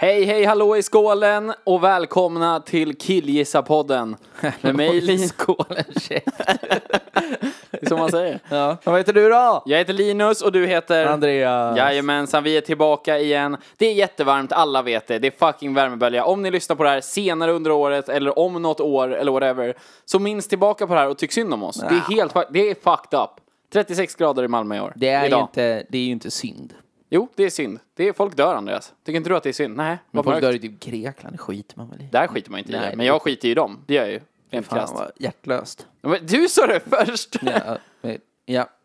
Hej, hej, hallå i skålen och välkomna till Killgissa-podden. Med mig Linus. Skålen chef. Det är som man säger. Ja. Vad heter du då? Jag heter Linus och du heter... Andreas. Jajamensan, vi är tillbaka igen. Det är jättevarmt, alla vet det. Det är fucking värmebölja. Om ni lyssnar på det här senare under året eller om något år eller whatever, så minns tillbaka på det här och tyck synd om oss. Det är helt fuck- det är fucked up. 36 grader i Malmö i år. Det är, ju Idag. inte, det är ju inte synd. Jo, det är synd. Det är, folk dör, Andreas. Tycker inte du att det är synd? Nej, Men varför folk dör högt? i typ Grekland, det skiter man väl i? Där skiter man inte Nej, i det. det- Men jag skiter ju i dem. Det gör jag ju. Rent Fan krasst. vad hjärtlöst. Men Du sa det först! Ja, men- ja,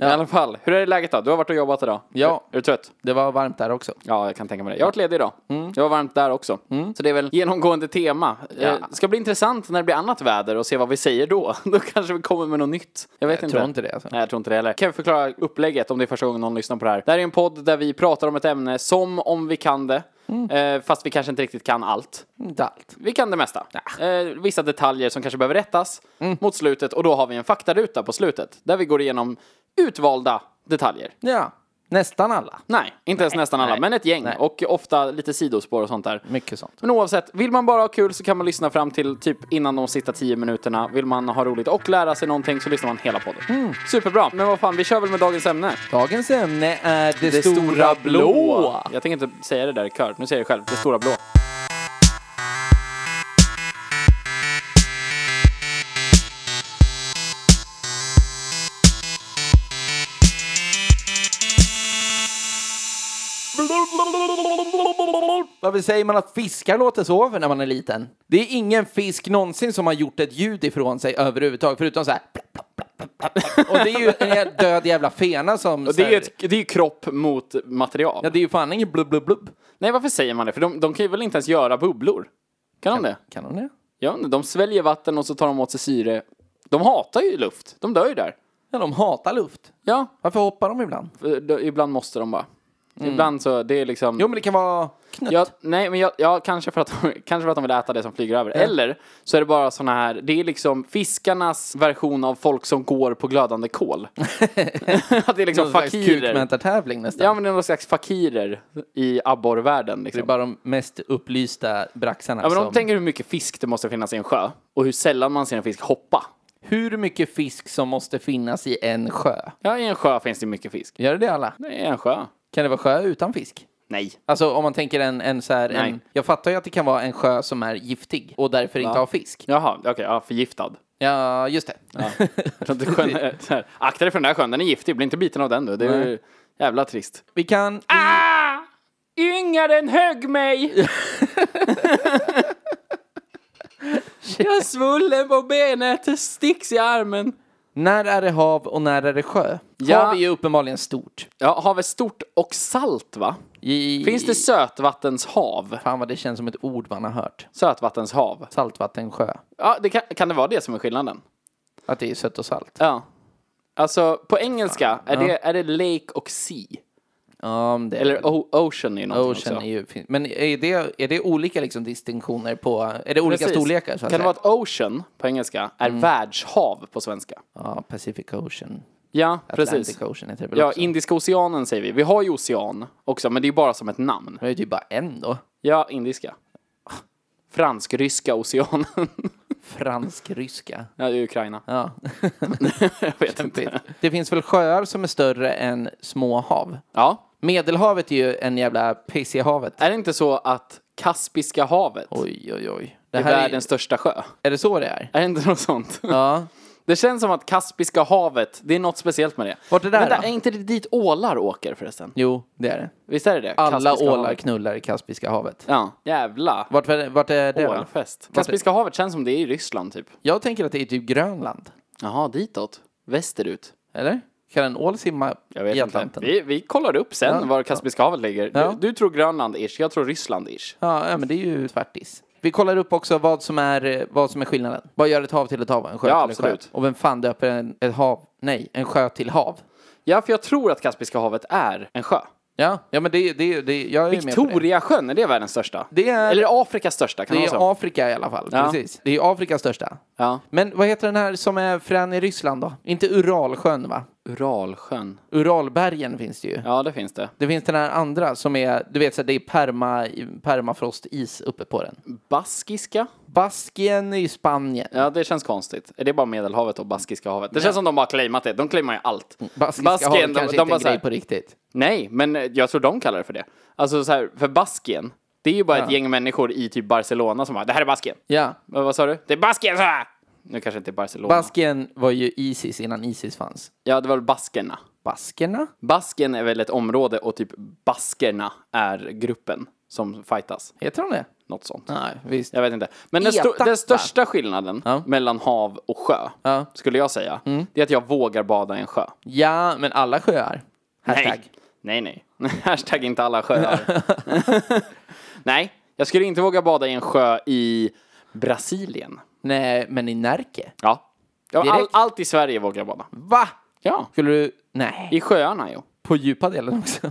Ja, i alla fall. Hur är det läget då? Du har varit och jobbat idag. Ja. Är du trött? det var varmt där också. Ja, jag kan tänka mig det. Jag har varit ledig idag. Mm. Det var varmt där också. Så det är väl genomgående tema. Ja. ska bli intressant när det blir annat väder och se vad vi säger då. Då kanske vi kommer med något nytt. Jag vet Jag inte. tror inte det alltså. Nej, jag tror inte det heller. Kan vi förklara upplägget om det är första gången någon lyssnar på det här? Det här är en podd där vi pratar om ett ämne som om vi kan det. Mm. Eh, fast vi kanske inte riktigt kan allt. Inte allt. Vi kan det mesta. Eh, vissa detaljer som kanske behöver rättas mot slutet och då har vi en faktaruta på slutet där vi går igenom utvalda detaljer. Ja, nästan alla. Nej, inte ens nästan alla, nej, men ett gäng nej. och ofta lite sidospår och sånt där. Mycket sånt. Men oavsett, vill man bara ha kul så kan man lyssna fram till typ innan de sista tio minuterna. Vill man ha roligt och lära sig någonting så lyssnar man hela podden. Superbra, men vad fan, vi kör väl med dagens ämne. Dagens ämne är det, stora, blå. Jag tänker inte säga det där i kör, nu säger jag det själv. Det stora blå. Varför säger man att fiskar låter så för när man är liten? Det är ingen fisk någonsin som har gjort ett ljud ifrån sig överhuvudtaget, förutom så här. plopp, plopp, plopp, plopp, plopp. Och det är ju en död jävla fena som... Och Det är ju ett, det är ju kropp mot material. Ja, det är ju fan ingen blubb, blubb, blubb. Nej, varför säger man det? För de, de kan ju väl inte ens göra bubblor? Kan de det? Kan hon det? Ja, de sväljer vatten och så tar de åt sig syre. De hatar ju luft. De dör ju där. Ja, de hatar luft. Ja, Varför hoppar de ibland? för då- ibland måste de bara. Ibland så, det är liksom... Mm. Jo, men det kan vara knött. Ja, nej, men jag, ja, kanske, för att de, kanske för att de vill äta det som flyger över. Eller så är det bara såna här, det är liksom fiskarnas version av folk som går på glödande kol. att det är liksom Någon slags fakirer. kukmätartävling nästan. Ja, men det är någon slags fakirer i abborrvärlden. Det är Liksom. bara de mest upplysta braxarna Ja, men de som... tänker hur mycket fisk det måste finnas i en sjö och hur sällan man ser en fisk hoppa. Hur mycket fisk som måste finnas i en sjö? Ja, i en sjö finns det mycket fisk. Gör det det alla? Nej, i en sjö. Kan det vara sjö utan fisk? Nej. Alltså om man tänker en, en så här, en, Nej. jag fattar ju att det kan vara en sjö som är giftig och därför inte har fisk. Jaha, okej, ja, förgiftad. Ja, just det. Jag tror inte sjön är, så här, akta dig för den där sjön, den är giftig, bli inte biten av den du. Det är ju jävla trist. Vi kan... Ah! Yngaren högg mig! Jag är svullen på benet, sticks i armen. När är det hav och när är det sjö? Ja. Hav är ju uppenbarligen stort. Ja, havet stort och salt va? I... Finns det sötvattenshav? Fan vad det känns som ett ord man har hört. Sötvattenshav. Saltvattensjö. Ja, det kan, kan det vara det som är skillnaden? Att det är sött och salt. Ja. Alltså, på engelska, är, det, är det lake och sea? Ja, men det... Eller o- ocean är ju någonting Ocean också. är ju fin- Men är det, är det olika liksom distinktioner på... Är det olika Precis. storlekar? Så att Kan det säga? Mm. vara att ocean på engelska är världshav på svenska? Ja, Pacific Ocean. Ja, precis. Atlantic Ocean heter det väl Ja, också? Indiska oceanen säger vi. Vi har ju ocean också, men det är ju bara som ett namn. Det är ju typ bara en då. Ja, indiska. Fransk-ryska oceanen. Fransk-ryska. ja, det är Ukraina. Ja. Jag vet inte. Det finns väl sjöar som är större än små hav? Ja, Medelhavet är ju en jävla piss i havet. är det inte så att Kaspiska havet Oj, oj, oj. Det är här är, världens största sjö? är det så det är? Är det inte något sånt? Ja. Det känns som att Kaspiska havet, det är något speciellt med det. Vart är det där Vänta, då? är inte det dit ålar åker förresten? Jo, det är det. Visst är det det? Alla Kaspiska ålar havet. knullar i Kaspiska havet. Ja, jävla Vart, var- vart är det då? ålfest. Kaspiska havet känns som det är i Ryssland typ. Jag tänker att det är typ Grönland. Jaha, ditåt. Västerut. Eller? Kan en ål simma Jag vet i inte. Atlanten? Vi, vi kollar upp sen Ja. var Kaspiska havet ligger. Ja. Du, du tror Grönland-ish, jag tror Ryssland-ish. Ja, ja, men det är ju tvärtis. Vi kollar upp också vad som är, eh, vad som är skillnaden. Vad gör ett hav till ett hav? En sjö Ja, till en sjö. absolut. Och vem fan döper en, ett hav? Nej, en sjö till hav. Ja, för jag tror att Kaspiska havet är en sjö. Ja, ja men det, det, det jag är med på det. Victoriasjön, är det världens största? Det är- Eller Afrikas största, kan Det man är säga. Afrika i alla fall. Ja. Precis. Det är Afrikas största. Ja. Men vad heter den här som är frän i Ryssland då? Inte Uralsjön va? Uralsjön. Uralbergen finns det ju. Ja, det finns det. Det finns den här andra som är, du vet så här, det är perma, permafrostis uppe på den. Baskiska? Baskien i Spanien. Ja, det känns konstigt. Är det bara Medelhavet och Baskiska havet? Det känns som de bara claimat det. De claimar ju allt. Baskiska havet kanske inte är bara en så här- grej på riktigt. Nej, men eh, jag tror de kallar det för det. Alltså så här, för Baskien, det är ju bara ett gäng människor i typ Barcelona som bara det här är Baskien. Ja. Vad, vad sa du? Det är Baskien så här! Nu kanske inte Barcelona. Baskien var ju Isis innan Isis fanns. ja, det var väl baskerna. Baskerna? Basken är väl ett område och typ baskerna är gruppen som fightas. Heter de det? Något sånt. Nej, visst. Jag vet inte. Men den, sto- Eta, den va? största skillnaden Ja. mellan hav och sjö, Ja. Mm. skulle jag säga, det är att jag vågar bada i en sjö. Ja, men alla sjöar. Hashtag. Nej, nej. nej. Hashtag inte alla sjöar. nej, jag skulle inte våga bada i en sjö i Brasilien. Nej, men i Närke? Ja. ja all, Direkt? allt i Sverige vågar jag bada. Va? Ja. Skulle du... Nej. I sjöarna, jo. På djupa delen också.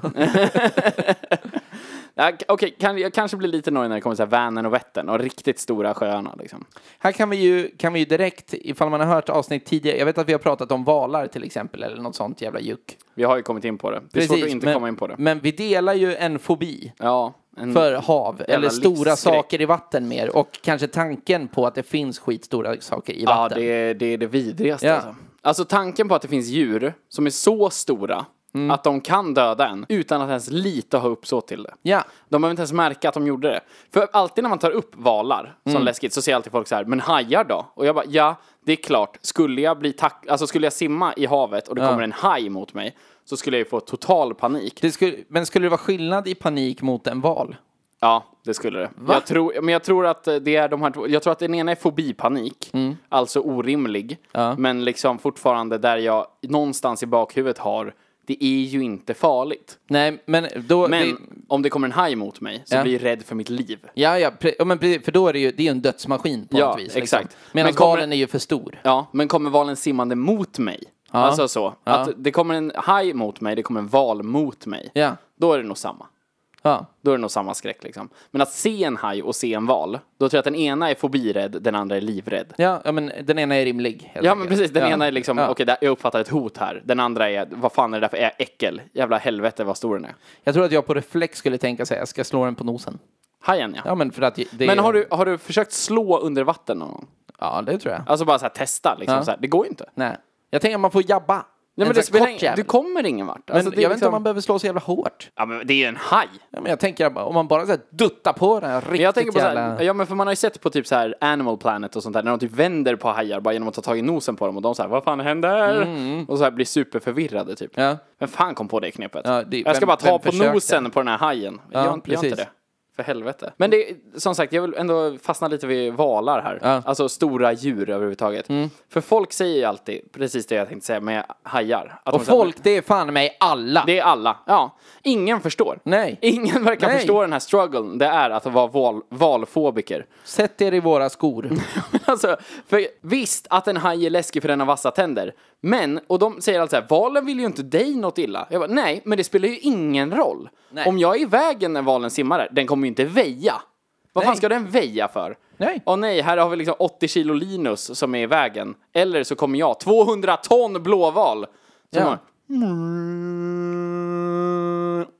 Ja, k- Okej, kan, jag kanske blir lite nöjd när det kommer till så här Vänern och Vättern och riktigt stora sjöarna liksom. Här kan vi, ju, kan vi ju direkt, ifall man har hört avsnitt tidigare, jag vet att vi har pratat om valar till exempel, eller något sånt jävla juck. Vi har ju kommit in på det. Det är svårt att inte men, komma in på det. Men vi delar ju en fobi ja. En, för hav, eller stora livsskräck. saker i vatten mer, och kanske tanken på att det finns skitstora saker i ja, vatten. det är det, är det vidrigaste. Ja. Alltså. alltså tanken på att det finns djur som är så stora Mm. att de kan döda en utan att ens lite ha uppsåt till det. Ja. De behöver inte ens märka att de gjorde det. För alltid när man tar upp valar Mm. som läskigt så ser alltid folk så här, men hajar då? Och jag bara, ja, det är klart, skulle jag bli tack, alltså skulle jag simma i havet och det kommer en haj mot mig så skulle jag ju få total panik. Det skulle, men skulle det vara skillnad i panik mot en val? Ja, det skulle det. Jag tror, men jag tror att det är de här två, jag tror att den ena är fobipanik, Mm. alltså orimlig, men liksom fortfarande där jag någonstans i bakhuvudet har, det är ju inte farligt. Nej, men då... Men Det, om det kommer en haj mot mig så Ja. blir jag rädd för mitt liv. ja, ja, pre, ja men precis, för då är det ju det är ju en dödsmaskin på Ja, något vis. liksom. exakt. Medan Men kommer- valen är ju för stor. Ja, men kommer valen simmande mot mig? Alltså så. Att det kommer en haj mot mig, det kommer en val mot mig. Ja. Då är det nog samma. Ja. Då är det nog samma skräck liksom. Men att se en haj och se en val, då tror jag att den ena är fobirädd, den andra är livrädd. Ja, ja, men den ena är rimlig. helt Ja men enkelt. precis, den Ja. ena är liksom, Ja. okej där- jag uppfattar ett hot här. Den andra är, vad fan är det där för ä- äckel? Jävla helvete vad stor den är. Jag tror att jag på reflex skulle tänka sig jag ska slå den på nosen. Hajen ja. Ja, men för att det Men har du, har du försökt slå under vatten någon gång? Ja, det tror jag. Alltså bara så här testa liksom, så här. det går ju inte. Nej. Jag tänker att man får jabba. Nej, men det spelar ingen, du jävel. kommer ingen vart. Men Alltså, det är jag vet inte liksom- om man behöver slå så jävla hårt. Ja men det är ju en haj. Ja, men jag tänker att om man bara så här duttar på den här riktigt Men jag tänker på så jävla... här, ja men för man har ju sett på typ så här Animal Planet och sånt där, när de typ vänder på hajar bara genom att ta tag i nosen på dem och de så här, vad fan händer? Och så här blir superförvirrade typ. Mm. Ja. Vem fan kom på det knepet? Ja, det- jag ska vem- bara ta vem på försökte? nosen på den här hajen. Ja, gör, gör inte precis. det. För helvete. Men det, som sagt, jag vill ändå fastna lite vid valar här. Alltså stora djur överhuvudtaget. Mm. För folk säger ju alltid precis det jag tänkte säga med hajar. Att de Och säger, folk, det är fan mig alla. det är alla. Ja. Ingen förstår. Nej. Ingen verkar Nej. förstå den här strugglen. Det är att vara val, valfobiker. Sätt er i våra skor. alltså, för visst att en haj är läskig för den har vassa tänder. Men, och de säger alltid så här, valen vill ju inte dig något illa. Jag bara, nej, men det spelar ju ingen roll. Nej. Om jag är i vägen när valen simmar där, den kommer ju inte väja. Vad fan Nej. ska den väja för? Nej. Åh nej, här har vi liksom 80 kilo Linus som är i vägen. Eller så kommer jag, 200 ton blåval. Som Ja. har...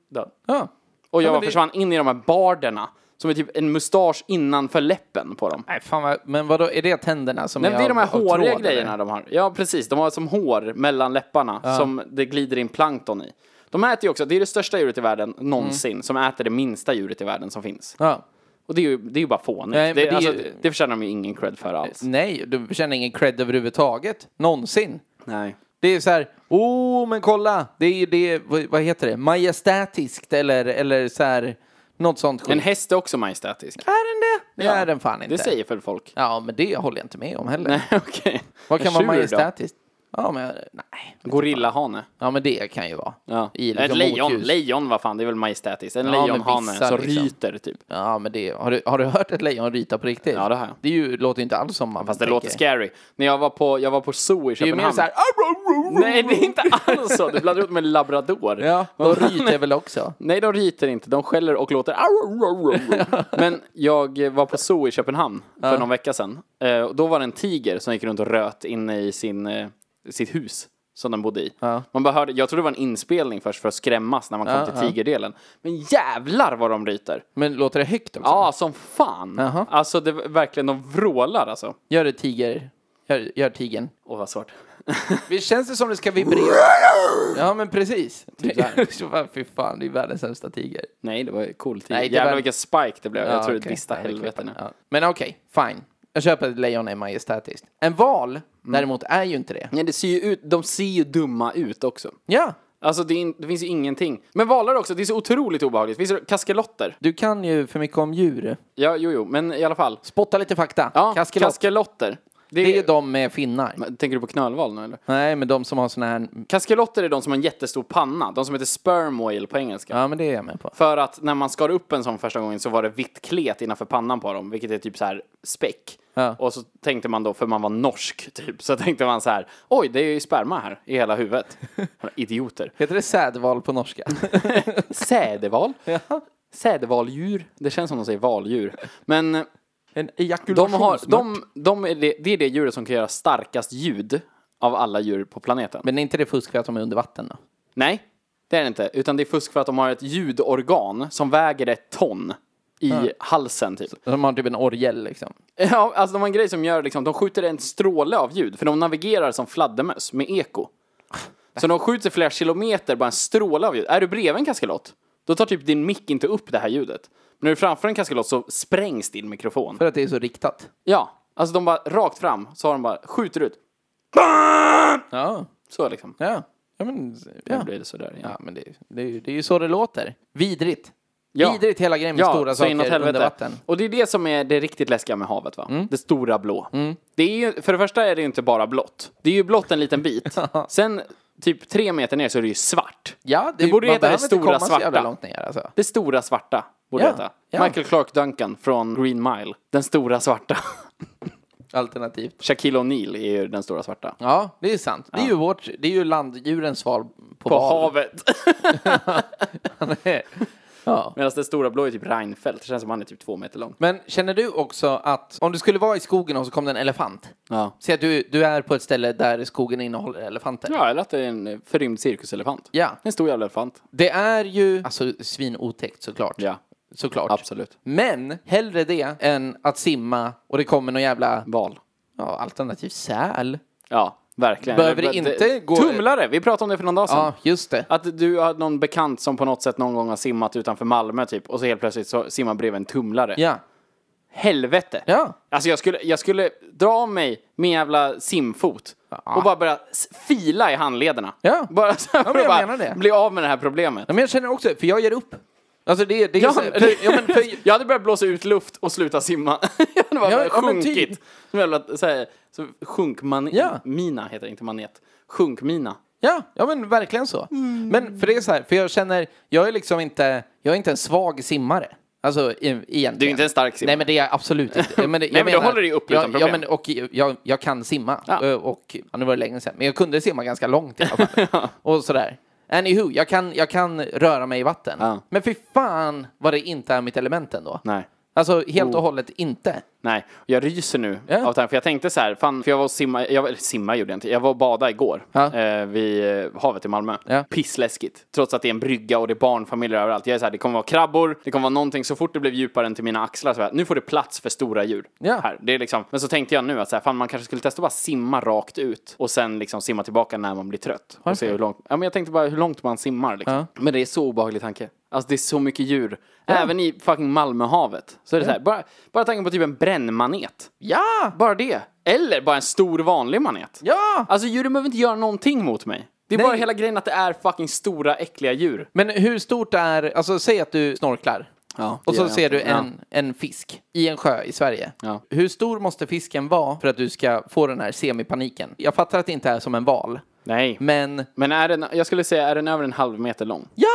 Död. Ja. Och jag men bara det- försvann in i de här barderna. Som är typ en mustasch innanför läppen på dem. Nej, fan vad... Men vadå, är det tänderna som Nej, men det är de här av- av håriga tråd, eller? grejerna de har. Ja, precis. De har som hår mellan läpparna som det glider in plankton i. De äter ju också, det är det största djuret i världen någonsin som äter det minsta djuret i världen som finns. Ja. Och det är ju, det är ju bara fånigt. Nej, men det, det är alltså, ju- det förtjänar de ju ingen cred för alls. Nej, du känner ingen cred överhuvudtaget. Någonsin. Nej. Det är så här, oh men kolla, det är ju det, vad vad heter det, majestätiskt eller, eller så här, något sånt skit. En häst är också majestätisk. Är den det? Det Ja, är den fan inte. Det säger för folk. Ja, men det håller jag inte med om heller. Nej, okej. Vad En kan vara tjur då? majestätiskt? Ja, men nej. Gorillahane. Ja, men det kan ju vara. Ja. I liksom Ett lejon, motljus. lejon vad fan, det är väl majestätiskt. En men lejonhane vissa, som liksom. ryter typ. Ja, men det, har, du, har du hört ett lejon ryta på riktigt? Ja, det har jag. Det är ju, låter ju inte alls som man Fast det tänker. låter scary. När jag var på, jag var på zoo i Det är ju mer Köpenhamn. så här... oh! Nej, det är inte alls så. Du blandar ihop med labrador. Ja, de ryter väl också? Nej, de ryter inte. De skäller och låter. Men jag var på zoo i Köpenhamn för någon vecka sedan. Eh, och Då var det en tiger som gick runt och röt inne i sin, eh, sitt hus som den bodde i. Man bara hörde, jag trodde det var en inspelning först för att skrämmas när man kom Ja, till ja. tigerdelen. Men jävlar vad de ryter! Men låter det högt också? Ja, som fan! Jaha. Alltså, det, verkligen, de vrålar alltså. Gör det tiger. Gör, gör tigen. Åh, vad svårt. Visst känns det som det ska vibrera? Ja, men precis. Typ så här. Så bara, Fy fan, det är världens sämsta tiger. Nej, det var ju cool tiger. Nej, det Jävlar var- vilken spike det blev. jag tror det okej. dista Ja, vi helvete nu. klipper. Ja. Men okej, fine. Jag köper att lejon är majestätiskt. En val däremot är ju inte det. Nej, det ser ju ut, de ser ju dumma ut också. Ja, Alltså det, är in, det finns ju ingenting. Men valar också, det är så otroligt obehagligt. Finns det kaskelotter? du kan ju för mycket om djur. Ja, jo, jo, men i alla fall. Spotta lite fakta. Ja, Kaskelot, kaskelotter. Det det är de med finnar. Tänker du på knölval nu eller? Nej, men de som har såna här... Kaskelotter är de som har en jättestor panna, de som heter sperm whale på engelska. Ja, men det är jag med på. För att när man skar upp en sån första gången så var det vitt klet innanför pannan på dem, vilket är typ så här späck. Ja. Och så tänkte man då, för man var norsk typ, så tänkte man så här, oj det är ju sperma här i hela huvudet. Idioter. Heter det sädval på norska? Sädeval? Sädevaldjur? Det känns som de säger valdjur. Men En de har, ejakulationsmört. de, de är det, det är det djuret som kan göra starkast ljud av alla djur på planeten. Men är inte det fusk för att de är under vatten då? Nej, det är det inte. Utan det är fusk för att de har ett ljudorgan som väger ett ton i halsen typ. De har typ en orgel liksom. Ja, alltså de har en grej som gör liksom, de skjuter en stråle av ljud, för de navigerar som fladdermöss med eko. Så de skjuter flera kilometer, bara en stråle av ljud. Är du bredvid en kaskelot, då tar typ din mick inte upp det här ljudet. Men när du är framför en kaskelot så sprängs din mikrofon. För att det är så riktat. Ja, alltså de bara rakt fram, så har de bara, skjuter ut. Ja. Så liksom. Ja. Ja, men, Nu ja. blir det sådär igen. ja, men det, det, är ju- det är ju så det låter. Vidrigt. Ja. Vidrigt hela grejen med Ja, stora så saker inåt under helvete. vatten. Mm. Och det är det som är det riktigt läskiga med havet va? Det stora blå. Det är ju, för det första är det ju inte bara blått. Det är ju blått en liten bit. Sen typ tre meter ner så är det ju svart. Ja, det, borde man heta det behöver inte stora komma så jävla svarta. långt ner alltså. Det stora svarta borde Ja, heta. ja. Michael Clark Duncan från Green Mile. Den stora svarta. Alternativt. Shaquille O'Neal är ju den stora svarta. Ja, det är sant. Det är ju vårt, det är ju landdjurens val på, På val. havet. ja. Medan den stora blå är typ Reinfeldt. Det känns som han är typ två meter lång. Men känner du också att om du skulle vara i skogen och så kom det en elefant. Ja. Säg att du, du är på ett ställe där skogen innehåller elefanter. Ja, eller att det är en eh, förrymd cirkuselefant. Ja. En stor jävla elefant. Det är ju alltså svinotäckt såklart. Ja, Såklart. absolut. Men hellre det än att simma och det kommer någon jävla Val. ja, alternativ säl. Ja, verkligen. Behöver det Eller, inte gå- Tumlare! Vi pratade om det för någon dag sedan. Ja, just det. Att du har någon bekant som på något sätt någon gång har simmat utanför Malmö typ och så helt plötsligt så simmar bredvid en tumlare. Ja. Helvete! Ja. Alltså jag skulle, jag skulle dra av mig min jävla simfot och bara börja s- fila i handlederna. Ja. Bara så här men för att jag bara menar det. bli av med det här problemet. Ja, men jag känner också, för jag ger upp. Alltså det, det är Ja, så, för, ja, men för, jag hade börjat blåsa ut luft och sluta simma. jag hade bara Ja, börjat ja, men typ. sjunkit. Som jävla, så här, så sjunkman... Ja. Mina heter det, inte manet. Sjunkmina. ja, ja, men verkligen så. Men för det är så här, för jag känner, jag är liksom inte, jag är inte en svag simmare. Alltså e- egentligen. Du är inte en stark simmare. Nej, men det är jag absolut inte. Jag men, jag men du håller dig upp ja, utan problem. Ja, men och jag, jag kan simma. Ja. Ö, Och, ja, nu var det länge sedan, men jag kunde simma ganska långt i alla fall. Och sådär. Anywho, jag kan, jag kan röra mig i vatten. Ja. Men fy fan vad det inte är mitt element ändå. Nej. Alltså helt Oh. och hållet inte. Nej, och jag ryser nu Ja. av tanken, för jag tänkte så här, fan, för jag var och simma, jag, var- eller simma gjorde jag inte, jag var och badade igår Ja. eh, vid eh, havet i Malmö. Ja. Pissläskigt, trots att det är en brygga och det är barnfamiljer överallt. Jag är så här, det kommer vara krabbor, det kommer vara någonting, så fort det blev djupare än till mina axlar så här, nu får det plats för stora djur. Ja. Här. Det är liksom, men så tänkte jag nu att så här, fan, man kanske skulle testa att bara simma rakt ut och sen liksom simma tillbaka när man blir trött. Och se hur långt, ja, men jag tänkte bara hur långt man simmar liksom. Men det är så obehaglig tanke. Alltså det är så mycket djur. Även i fucking Malmöhavet. Så är det så här, bara, bara tanken på typ en brännmanet. Ja! Bara det. Eller bara en stor vanlig manet. Ja! Alltså djuren behöver inte göra någonting mot mig. Det är Nej. bara hela grejen att det är fucking stora äckliga djur. Men hur stort är, alltså säg att du snorklar. Ja, Och det så gör jag ser inte. du en, en fisk i en sjö i Sverige. Ja. Hur stor måste fisken vara för att du ska få den här semipaniken? Jag fattar att det inte är som en val, Nej. men Men är den, jag skulle säga, är den över en halv meter lång? ja!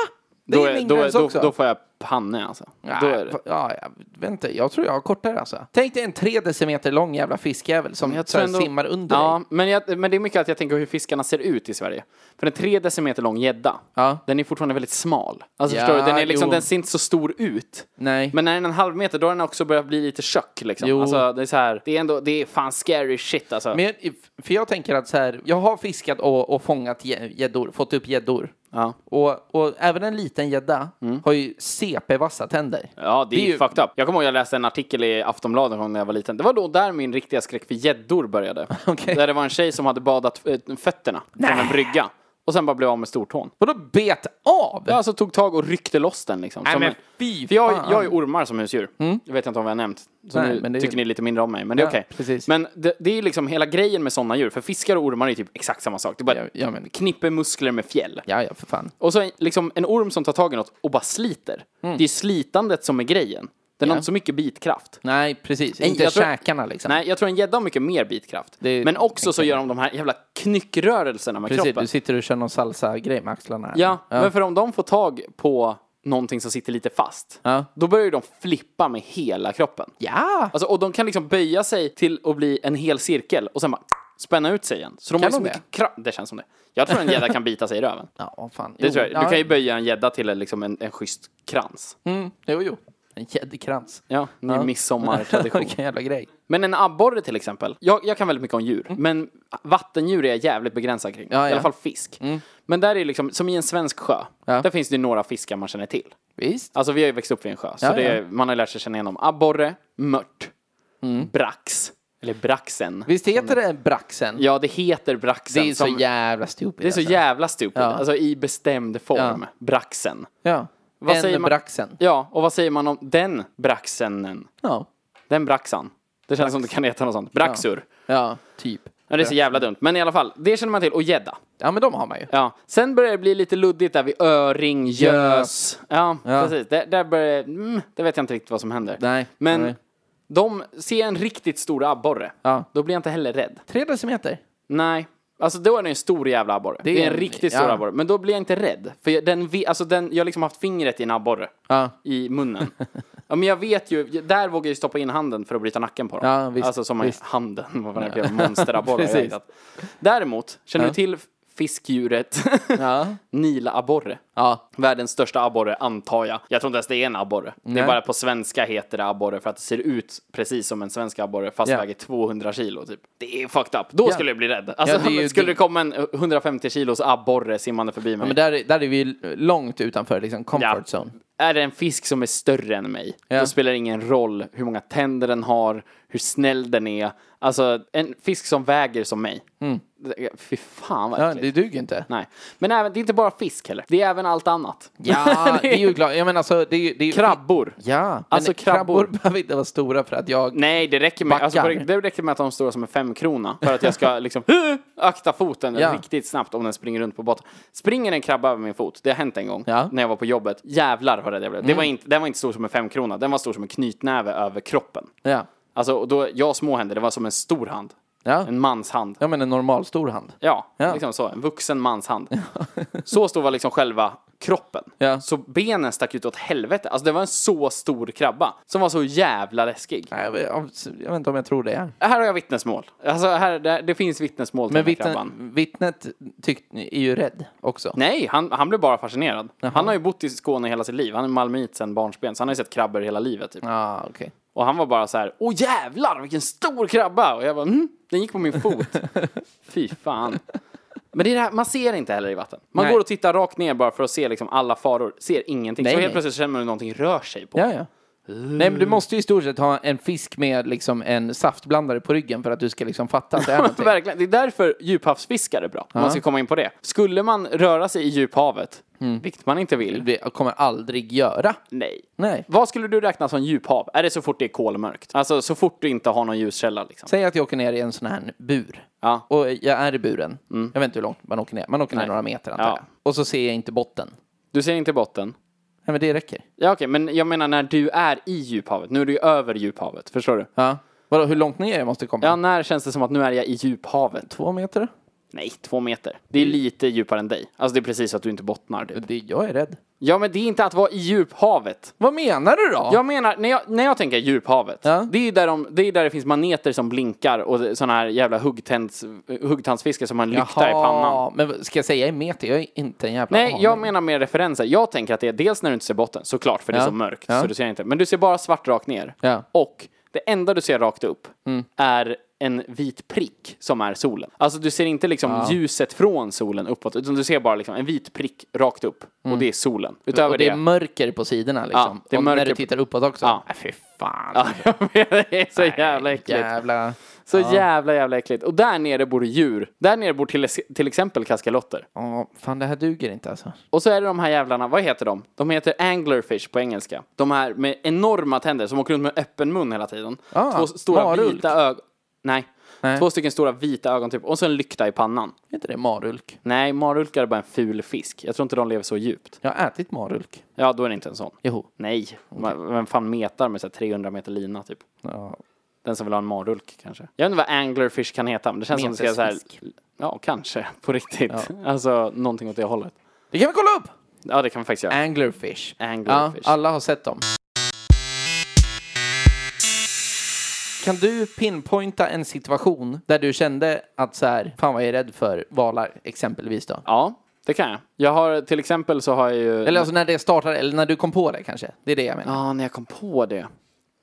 Det då, är min då, gräns då, också. då får jag panne alltså. Ja, Då är det. ja, jag vet inte. Jag tror jag har kortare alltså. Tänk dig en tre decimeter lång jävla fiskjävel som Jag jag tror ändå- simmar under dig. Ja, men, jag, men det är mycket att jag tänker hur fiskarna ser ut i Sverige. För en tre decimeter lång gädda, Ja. den är fortfarande väldigt smal. Alltså Ja, förstår du, den, är liksom, jo. den ser inte så stor ut. Nej. Men när den är en halv meter, då har den också börjat bli lite tjock liksom. Jo. Alltså, det är så här, det är ändå, det är fan scary shit alltså. Men, jag- för jag tänker att så här, jag har fiskat och, och fångat gä- gäddor, fått upp gäddor. Ja. Och, och även en liten gädda har ju CP-vassa tänder. Mm. Ja, det är, Det är ju ju- fucked up. Jag kommer ihåg jag läste en artikel i Aftonbladet om när jag var liten. Det var då där min riktiga skräck för gäddor började. Okej. Där det var en tjej som hade badat eh, fötterna från en brygga. Och sen bara blev av med stortån. Vadå bet av? Jag alltså tog tag och ryckte loss den liksom. Nej, Som men en- fy För jag, fan. Mm. jag är ormar som husdjur. Jag vet inte om vi har nämnt. Så Nej, nu men det är- tycker ni lite mindre om mig. Men det är Ja, okej. precis. Men det, det är liksom hela grejen med sådana djur. För fiskar och ormar är typ exakt samma sak. Det bara Ja, ja, men- knipper muskler med fjäll. Ja, ja, för fan. Och så en- liksom en orm som tar tag i något och bara sliter. Mm. Det är slitandet som är grejen. Den har inte så mycket bitkraft. Nej, precis. Inte jag tror- käkarna liksom. Nej, jag tror en gädda har mycket mer bitkraft. Det- Men också så gör de de här jävla knyckrörelserna med precis, kroppen. du sitter och kör någon salsa-grej med axlarna. här. Ja, men för om de får tag på någonting som sitter lite fast, Ja. då börjar ju de flippa med hela kroppen. Ja! Alltså, och de kan liksom böja sig till att bli en hel cirkel och sen bara spänna ut sig igen. Så de Kan har ju så de mycket kraft. Det känns som det. Jag tror en gädda kan bita sig i röven. Ja, vad fan. Det tror jag. Du kan ju ja. böja en gädda till en, liksom en, en schysst krans. Mm, jo, jo. En gäddkrans. Ja, ny midsommartradition. Vilken jävla grej. Men en abborre till exempel. Jag, jag kan väldigt mycket om djur, men vattendjur är jag jävligt begränsad kring. Mm. Ja, I ja. alla fall fisk. Men där är liksom, som i en svensk sjö, Ja. där finns det ju några fiskar man känner till. Visst? Alltså vi har ju växt upp vid en sjö, så Ja, det, ja. man har lärt sig känna igenom abborre, mört, Mm. brax, eller braxen. Visst heter det braxen? Ja, det heter braxen. det är så som- jävla stupid. det är så alltså. jävla stupid. Ja. Alltså i bestämd form, braxen. Ja. Vad en säger man- braxen. Ja, och vad säger man om den braxenen? Ja. Den braxan. Det känns som det kan heta något sånt. Braxur. Ja, typ. Ja, det är så jävla dumt. Men i alla fall, det känner man till. Och gädda. Ja, men de har man ju. Ja. Sen börjar det bli lite luddigt där vid öring, gös. Ja, precis. Där, där börjar mm, det vet jag inte riktigt vad som händer. Nej, Men nej. de ser en riktigt stor abborre. Ja. Då blir jag inte heller rädd. Tre decimeter. Nej. Alltså då är det en stor jävla abborre. Det är, en, riktigt stor ja. abborre. Men då blir jag inte rädd. För jag, den, ve- alltså den, jag har liksom haft fingret i en abborre. Ja. I munnen. ja, men jag vet ju, där vågar jag ju stoppa in handen för att bryta nacken på dem. Ja, visst, alltså som visst. en handen, vad fan är det för monsterabborre jag har Precis. hittat. Däremot, känner du till fiskdjuret Ja. Nilabborre? Ja. Världens största abborre antar jag. Jag tror inte ens det är en abborre. Det är Nej. bara på svenska heter det abborre för att det ser ut precis som en svensk abborre fast Ja. väger 200 kilo typ. Det är fucked up. Då skulle jag bli rädd. Alltså, Ja, det är ju- skulle det komma en 150 kilos abborre simmande förbi mig. Men där, är- där är vi ju långt utanför liksom comfort zone. Är det en fisk som är större än mig, Ja. då spelar det ingen roll hur många tänder den har, hur snäll den är. Alltså, en fisk som väger som mig. Det- Fy fan vad Mm. Ja, äckligt. det duger inte. Nej. Men även, det är inte bara fisk heller. Det är även allt annat. Ja, det är ju klart. Jag menar alltså, det är ju... Det är ju Krabbor. Ja, men Alltså, krabbor. behöver inte vara stora för att jag... Nej, det räcker med, alltså, på Backar. riktigt, det räcker med att de står som en femkrona för att jag ska liksom akta foten Ja. riktigt snabbt om den springer runt på botten. Springer en krabba över min fot, det har hänt en gång Ja. Mm. när jag var på jobbet. Jävlar vad rädd jag blev. Det var inte, den var inte stor som en femkrona, den var stor som en knytnäve över kroppen. Ja. Alltså, och då, jag har små händer, det var som en stor hand. Ja. En mans hand. ja, men en normal stor hand. Ja, Ja. liksom så. En vuxen mans hand. så stor var liksom själva kroppen. Ja. Så benen stack ut åt helvete. Alltså det var en så stor krabba som var så jävla läskig. Nej, jag, vet- jag vet inte om jag tror det. Är. Här har jag vittnesmål. Alltså här, det, det finns vittnesmål till Men den här vittne, krabban. vittnet tyck, är ju rädd också. Nej, han, han blev bara fascinerad. Han har ju bott i Skåne hela sitt liv. Han är malmöit sedan barnsben, så han har ju sett krabbor hela livet. Typ. Ja, Ah, okej. Och han var bara så här, åh jävlar vilken stor krabba! Och jag bara, mm, den gick på min fot. Fy fan. Men det är det här, man ser inte heller i vatten. Man Nej. går och tittar rakt ner bara för att se liksom alla faror, ser ingenting. Nej, så helt nej. plötsligt känner man hur någonting rör sig på. Ja, ja. Nej, men du måste ju i stort sett ha en fisk med liksom en saftblandare på ryggen för att du ska liksom fatta att det är någonting. Verkligen. Det är därför djuphavsfiskar är bra, om man ska komma in på det. Skulle man röra sig i djuphavet, Mm. vilket man inte vill, Det kommer aldrig göra. nej. Nej. Vad skulle du räkna som djuphav? Är det så fort det är kolmörkt? Alltså så fort du inte har någon ljuskälla liksom? Säg att jag åker ner i en sån här bur. Ja. Och jag är i buren. Jag vet inte hur långt man åker ner. Man åker ner Nej. några meter antar Ja. jag. Och så ser jag inte botten. Du ser inte botten. Nej, men det räcker. Ja okej, men jag menar när du är i djuphavet. Nu är du ju över djuphavet, förstår du? Ja. Vadå, hur långt ner jag måste komma? Ja, när känns det som att nu är jag i djuphavet? Två meter? Nej, två meter. Det Mm. är lite djupare än dig. Alltså det är precis så att du inte bottnar. Typ. Det, jag är rädd. Ja, men det är inte att vara i djuphavet. Vad menar du då? Jag menar, när jag, när jag tänker djuphavet, Ja. det, är ju där de, det är där det finns maneter som blinkar och sådana här jävla huggtänds, huggtandsfiskar som har en lykta i pannan. Men vad- ska jag säga i meter? Jag är inte en jävla Nej, aning. jag menar mer referenser. Jag tänker att det är dels när du inte ser botten, såklart, för det är Ja. så mörkt, Ja. så du ser inte. Men du ser bara svart rakt ner. Ja. Och det enda du ser rakt upp Mm. är en vit prick som är solen. Alltså du ser inte liksom ljuset från solen uppåt, utan du ser bara liksom en vit prick rakt upp. Och det är solen. Utöver Mm. Och det är mörker på sidorna liksom. det är och mörker när du på- tittar uppåt också. Ja. Nej, fy fan. Ja, jag vet, det är så jävla äckligt. Jävla... Så jävla, jävla äckligt. Och där nere bor det djur. Där nere bor till, till exempel kaskalotter. Ja, fan det här duger inte alltså. Och så är det de här jävlarna, vad heter de? De heter anglerfish på engelska. De här med enorma tänder som åker runt med öppen mun hela tiden. Ah, Två s- stora marulk. vita ögon. Nej. Nej. Två stycken stora vita ögon typ. Och så en lykta i pannan. Är inte det marulk? Nej, marulkar är bara en ful fisk. Jag tror inte de lever så djupt. Jag har ätit marulk. Ja, då är det inte en sån. Jo. Nej. Ma- Vem fan metar med så här 300 meter lina typ? Ja. Den som vill ha en marulk kanske. Jag vet inte vad anglerfish kan heta, men det känns som att det ska så här... Ja, kanske. På riktigt. Alltså, någonting åt det hållet. Det kan vi kolla upp! Ja, det kan vi faktiskt göra. Anglerfish. Anglerfish. Ja, alla har sett dem. Kan du pinpointa en situation där du kände att så här, fan vad jag är rädd för valar exempelvis då? Ja, det kan jag. Jag har till exempel så har jag ju... Eller alltså när det startade, eller när du kom på det kanske? Det är det jag menar. Ja, när jag kom på det.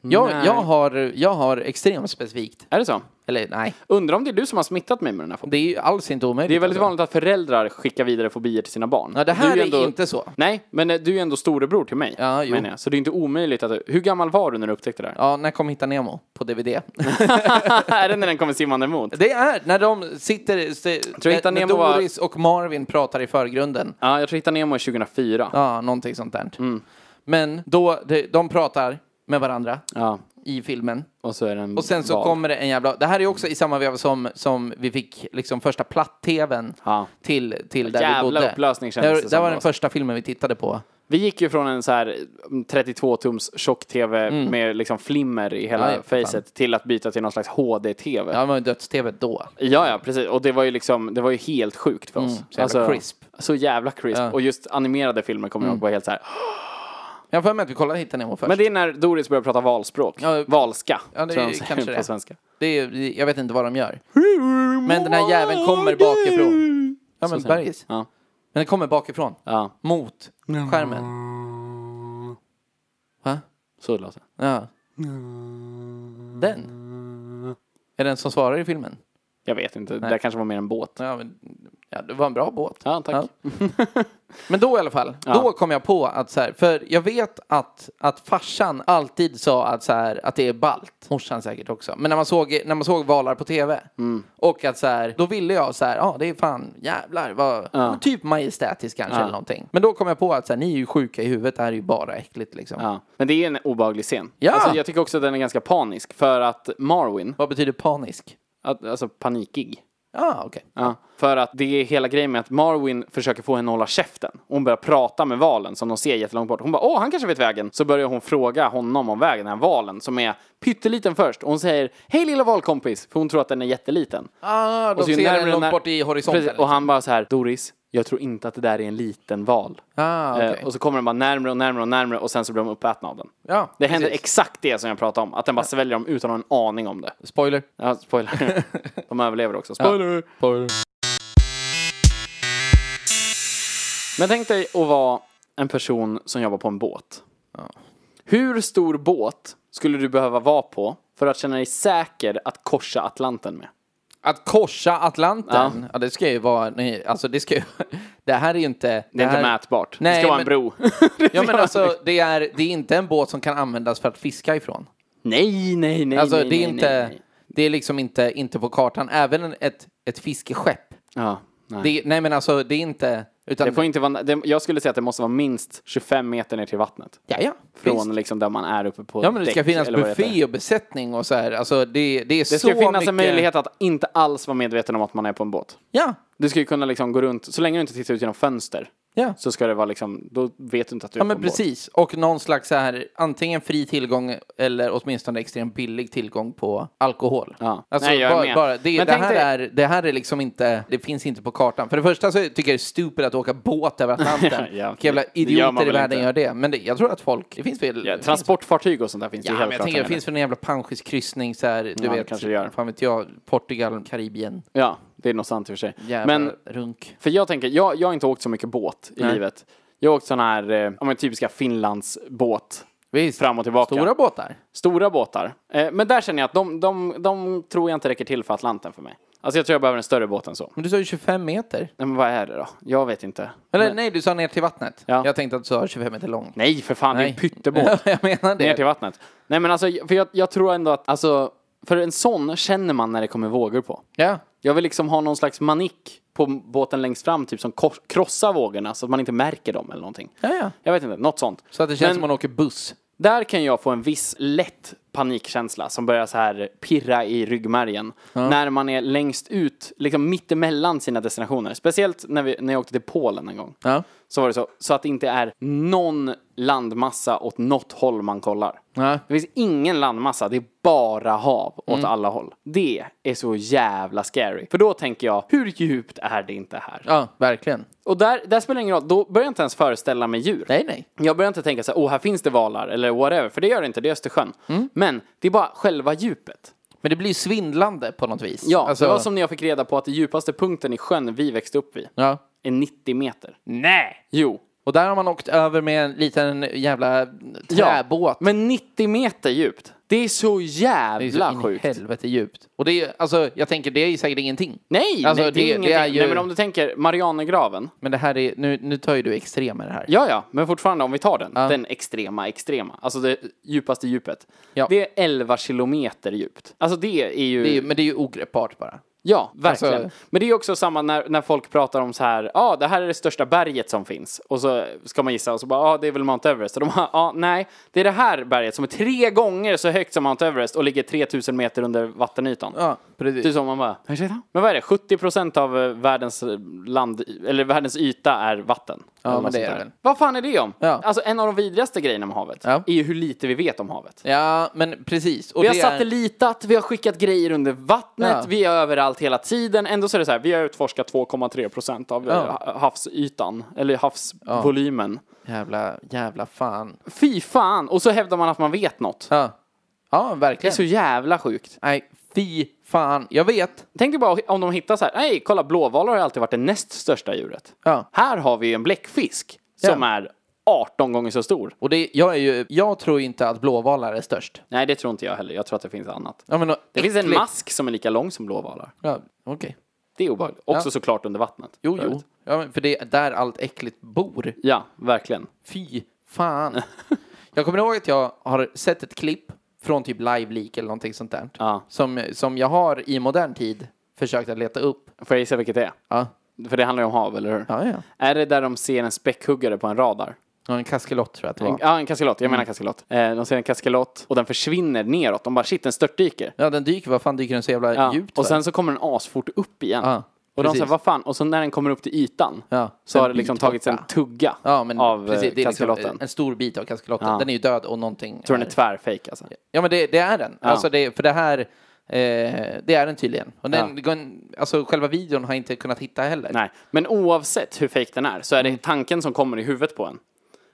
jag, nej. jag, har, jag har extremt specifikt, Är det så? eller nej, Undrar om det är du som har smittat mig med den här fobier. det är ju alls inte omöjligt. Det är väldigt alltså. vanligt att föräldrar skickar vidare fobier till sina barn. Ja, det här Du ju är inte så. Nej, men eh, du är ju ändå storebror till mig. Ja, jo. menar jag. Så det är inte omöjligt att... Hur gammal var du när du upptäckte det här? Ja, när kom Hitta Nemo? På DVD. är det när den kommer simmande emot? det är när de sitter, se, tror Hitta när Nemo var- Doris och Marvin pratar i förgrunden. Ja, jag tror jag hittade Nemo i 2004. Ja, någonting sånt där. Mm. Men då, de, de pratar med varandra Ja. i filmen. Och så är den Och sen så val. kommer det en jävla... Det här är också i samma veva som, som vi fick liksom första platt-tvn Ja. till, till där Jävla vi bodde. upplösning kändes det det som var då, den alltså. första filmen vi tittade på. Vi gick ju från en så här 32-tums tjock-tv med liksom flimmer i hela Mm. Ja, ja, för facet till att byta till någon slags HD-tv. Ja, det var ju döds-tv då. Ja, ja, precis. Och det var ju liksom, det var ju helt sjukt för oss. så Mm. jävla crisp. Mm. Så jävla crisp. Och just animerade filmer kommer jag ihåg var helt så här. Jag har för mig att vi kollade Hitta Nemo först. Men det är när Doris börjar prata valspråk. Ja, Valska. Ja, det tror jag är de säger kanske på det. svenska. Det är, jag vet inte vad de gör. Men den här jäveln kommer bakifrån. Ja, men bergis. Ja. Men den kommer bakifrån. Ja, Mot skärmen. Va? så låter det. Ja. Den? Är den som svarar i filmen? Jag vet inte. Det där kanske var mer en båt. Ja, men, ja det var en bra båt. Ja, tack. Men då i alla fall, då kom jag på att så här, för jag vet att, att farsan alltid sa att, så här, att det är balt. Morsan säkert också. Men när man såg, när man såg valar på tv Mm. och att så här, då ville jag så här, ja ah, det är fan jävlar vad, typ majestätiskt kanske eller någonting. Men då kom jag på att så här, ni är ju sjuka i huvudet, det här är ju bara äckligt liksom. Ja. Men det är en obehaglig scen. Ja! Alltså, jag tycker också att den är ganska panisk. För att Marwin, Vad betyder panisk? att, alltså panikig. Ja, ah, okej. Ja, för att det är hela grejen med att Marwin försöker få henne att hålla käften. Hon börjar prata med valen som de ser jättelångt bort. Hon bara åh, han kanske vet vägen. Så börjar hon fråga honom om vägen, den här valen som är pytteliten först. Och hon säger hej lilla valkompis, för hon tror att den är jätteliten. Ah, de ju ser närmare den långt när- bort i horisonten. liksom. Precis, och han bara så här, Doris, jag tror inte att det där är en liten val. Ah, okej. Eh, och så kommer den bara närmre och närmre och närmre och sen så blir de uppätna av den. Ja, det händer precis. exakt det som jag pratade om, att den bara sväljer dem utan att ha en aning om det. Spoiler. Ja, spoiler. de överlever också. Spoiler! Spoiler. Men tänk dig att vara en person som jobbar på en båt. Hur stor båt skulle du behöva vara på för att känna dig säker att korsa Atlanten med? Att korsa Atlanten, ja. det ska ju vara, nej, alltså det ska ju, det här är ju inte... Det, Det är här, inte mätbart. det Nej, ska vara en men- bro. Ja men alltså, det är, det är inte en båt som kan användas för att fiska ifrån. nej, nej, nej. Alltså nej, det är nej, inte, Nej, nej. det är liksom inte, inte på kartan. Även en- ett, ett fiskeskepp. Ja, nej. Det, Det, nej men alltså, det är inte, utan... får inte vara, det, jag skulle säga att det måste vara minst 25 meter ner till vattnet. ja, ja, Från visst. liksom där man är uppe på Ja men det ska däck, finnas eller vad det heter. buffé och besättning och så här. Alltså det, det är så Det ska ju finnas mycket... en möjlighet att inte alls vara medveten om att man är på en båt. Ja, Du ska ju kunna liksom gå runt, så länge du inte tittar ut genom fönster. Ja. Så ska det vara liksom, då vet du inte att du Ja är men på en båt. precis, och någon slags så här, antingen fri tillgång eller åtminstone extremt billig tillgång på alkohol. Ja. Alltså, Nej, jag är bara, med. Bara, det, Men det, tänk här dig- är, det här är liksom inte, det finns inte på kartan. För det första så tycker jag det är stupid att åka båt över Atlanten. Ja, Vilka jävla det gör idioter man i väl världen inte. gör det. Men det, jag tror att folk, det finns väl... Ja, det finns- transportfartyg och sånt där finns Ja, det men helt jag klart tänker det använder. finns väl en jävla panschyskryssning så här, du Ja, det vet, kanske det gör. fan vet jag, Portugal, Karibien, Ja, det är nog sant i och för sig. jävla Men runk. För jag tänker, jag, jag har inte åkt så mycket båt i Nej. livet. Jag har åkt sån här, eh, ja, men typiska Finlandsbåt. Visst, Fram och tillbaka. stora båtar. Stora båtar. Eh, men där känner jag att de, de, de tror jag inte räcker till för Atlanten för mig. Alltså jag tror jag behöver en större båt än så. Men du sa ju 25 meter. Nej, men vad är det då? Jag vet inte. Eller nej, du sa ner till vattnet. Ja. Jag tänkte att du sa 25 meter lång. Nej, för fan, det är en pyttebåt. jag menar det. Ner till vattnet. Nej, men alltså, för jag, jag tror ändå att, alltså, för en sån känner man när det kommer vågor på. Ja. Jag vill liksom ha någon slags manick på båten längst fram, typ som kor- krossar vågorna så att man inte märker dem eller någonting. Ja, ja. Jag vet inte, något sånt. Så att det känns Men- som man åker buss. Där kan jag få en viss lätt panikkänsla som börjar så här pirra i ryggmärgen. När man är längst ut, liksom mittemellan sina destinationer. Speciellt när, vi, när jag åkte till Polen en gång. Ja. Så var det så. Så att det inte är någon landmassa åt något håll man kollar. Ja. Det finns ingen landmassa, det är bara hav åt Mm. alla håll. Det är så jävla scary. För då tänker jag, hur djupt är det inte här? Ja, verkligen. Och där, där spelar det ingen roll, då börjar jag inte ens föreställa mig djur. Nej, nej. Jag börjar inte tänka så här, oh här finns det valar eller whatever, för det gör det inte, det är Östersjön. Mm. Men det är bara själva djupet. Men det blir ju svindlande på något vis. Ja, Alltså- det var som när jag fick reda på att den djupaste punkten i sjön vi växte upp vid Ja. är 90 meter. Nej! Jo. Och där har man åkt över med en liten jävla träbåt. Men 90 meter djupt. Det är så det är så jävla in i sjukt. helvete djupt. Och det är, alltså, jag tänker det är ju säkert ingenting. Nej, Alltså, nej, det- det, är ingenting. det är ju- Nej, men om du tänker Marianergraven. Men det här är, nu, nu tar ju du extremer här. Ja, ja, men fortfarande om vi tar den. Den extrema, extrema. Alltså det djupaste djupet. Ja. Det är 11 kilometer djupt. Alltså det är ju... Det är, ju- men det är ju ogreppbart bara. Ja, verkligen. Alltså- Men det är också samma när, när folk pratar om så här, ja, det här är det största berget som finns. Och så ska man gissa och så bara, ja, det är väl Mount Everest. Och de bara, ja, nej, det är det här berget som är tre gånger så högt som Mount Everest och ligger 3000 meter under vattenytan. Ja, precis. Det är som man bara, ursäkta? Men vad är det, 70 procent av eh, världens eh, land, eller världens yta är vatten? Eller men något det sånt är där. det väl. Vad fan är det om? Ja. Alltså en av de vidrigaste grejerna med havet Ja. är ju hur lite vi vet om havet. Ja, men precis. Och Vi har det är, satellitat, vi har skickat grejer under vattnet, Ja. vi är överallt hela tiden. Ändå så är det så här, vi har utforskat 2,3 procent av eh, Ja. havsytan, eller havsvolymen. jävla, jävla fan. Fy fan! Och så hävdar man att man vet något. Ja, ja Det är verkligen. så jävla sjukt. Nej, fy fan. Jag vet. Tänk dig bara om de hittar så här, nej kolla blåvalar har ju alltid varit det näst största djuret. Ja. Här har vi ju en bläckfisk som Ja. är 18 gånger så stor. Och det, jag, är ju, jag tror inte att blåvalar är störst. Nej det tror inte jag heller, jag tror att det finns annat. Ja, men, Det finns en mask som är lika lång som blåvalar. Ja, Okej. Det är obehagligt. Också Ja. såklart under vattnet. Jo, jo. Ja, men för det är där allt äckligt bor. Ja, verkligen. Fy fan. jag kommer ihåg att jag har sett ett klipp från typ Live Leak eller någonting sånt där. Ja. Som, som jag har i modern tid försökt att leta upp. Får jag gissa vilket det är? Ja, För det handlar ju om hav, eller hur? ja. ja. Är det där de ser en späckhuggare på en radar? ja Mm. en kaskelott tror jag att det En, var. ja, en kaskelot. Jag menar kaskelot. Eh, de ser en kaskelot och den försvinner neråt. De bara shit, den störtdyker. Ja, den dyker. Vad fan dyker den så jävla Ja. djupt och för? sen så kommer den asfort upp igen. Ja, och de precis. säger vad fan, och så när den kommer upp till ytan Ja, så en har det liksom bit tagits en borta. tugga Ja, men av eh, precis. Det är liksom kaskeloten. en stor bit av kaskelotten. Ja. Den är ju död och någonting. tror den är- är tvärfejk alltså. Ja, men det, det är den. Alltså det, för det här, eh, det är den tydligen. Och den, den- alltså själva videon har jag inte kunnat hitta heller. Nej, men oavsett hur fejk den är så är det tanken som kommer i huvudet på en.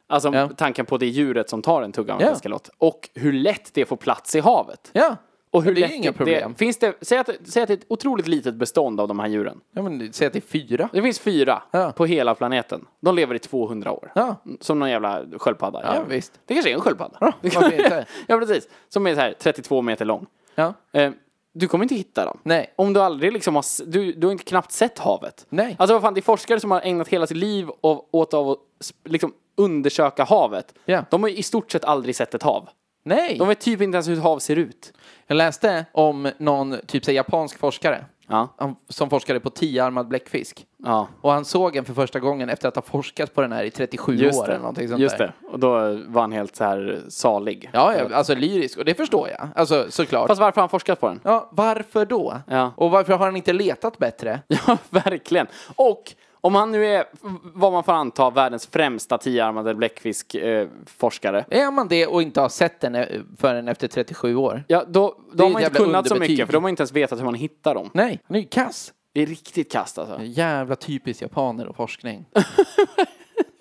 Alltså Mm. Ja. tanken på det djuret som tar en tugga av en Ja. kaskelot. Och hur lätt det får plats i havet. Ja, Och hur det är lätt ju inga problem. Det, finns det, säg, att, säg att det är ett otroligt litet bestånd av de här djuren. ja, men säg att det är fyra. Det finns fyra Ja. på hela planeten. De lever i 200 år. Ja. Som någon jävla sköldpadda. Ja, visst. Det kanske är en sköldpadda. varför inte? ja, precis. Som är så här 32 meter lång. Ja. Eh, du kommer inte hitta dem. Nej. Om du aldrig liksom har, s- du, du har inte knappt sett havet. Nej. Alltså vad fan, det är forskare som har ägnat hela sitt liv av- åt av att sp- liksom undersöka havet. Ja. De har ju i stort sett aldrig sett ett hav. Nej! De vet typ inte ens hur ett hav ser ut. Jag läste om någon typ så här, japansk forskare Ja. han, som forskade på tioarmad bläckfisk. Ja. Och han såg den för första gången efter att ha forskat på den här i 37 Just år det. eller någonting sånt Just där. det. Och då var han helt så här salig. Ja, ja, alltså lyrisk. Och det förstår jag. Alltså såklart. Fast varför har han forskat på den? Ja, varför då? Ja. Och varför har han inte letat bättre? Ja, verkligen. Och Om han nu är, vad man får anta, världens främsta tioarmade bläckfisk-forskare. Är man det och inte har sett den eh, förrän efter 37 år? ja, då, Det då är har ett man inte jävla kunnat så underbetyg. mycket, för de har inte ens vetat hur man hittar dem. Nej, han är ju kass. Det är riktigt kast alltså. Jävla typiskt japaner och forskning.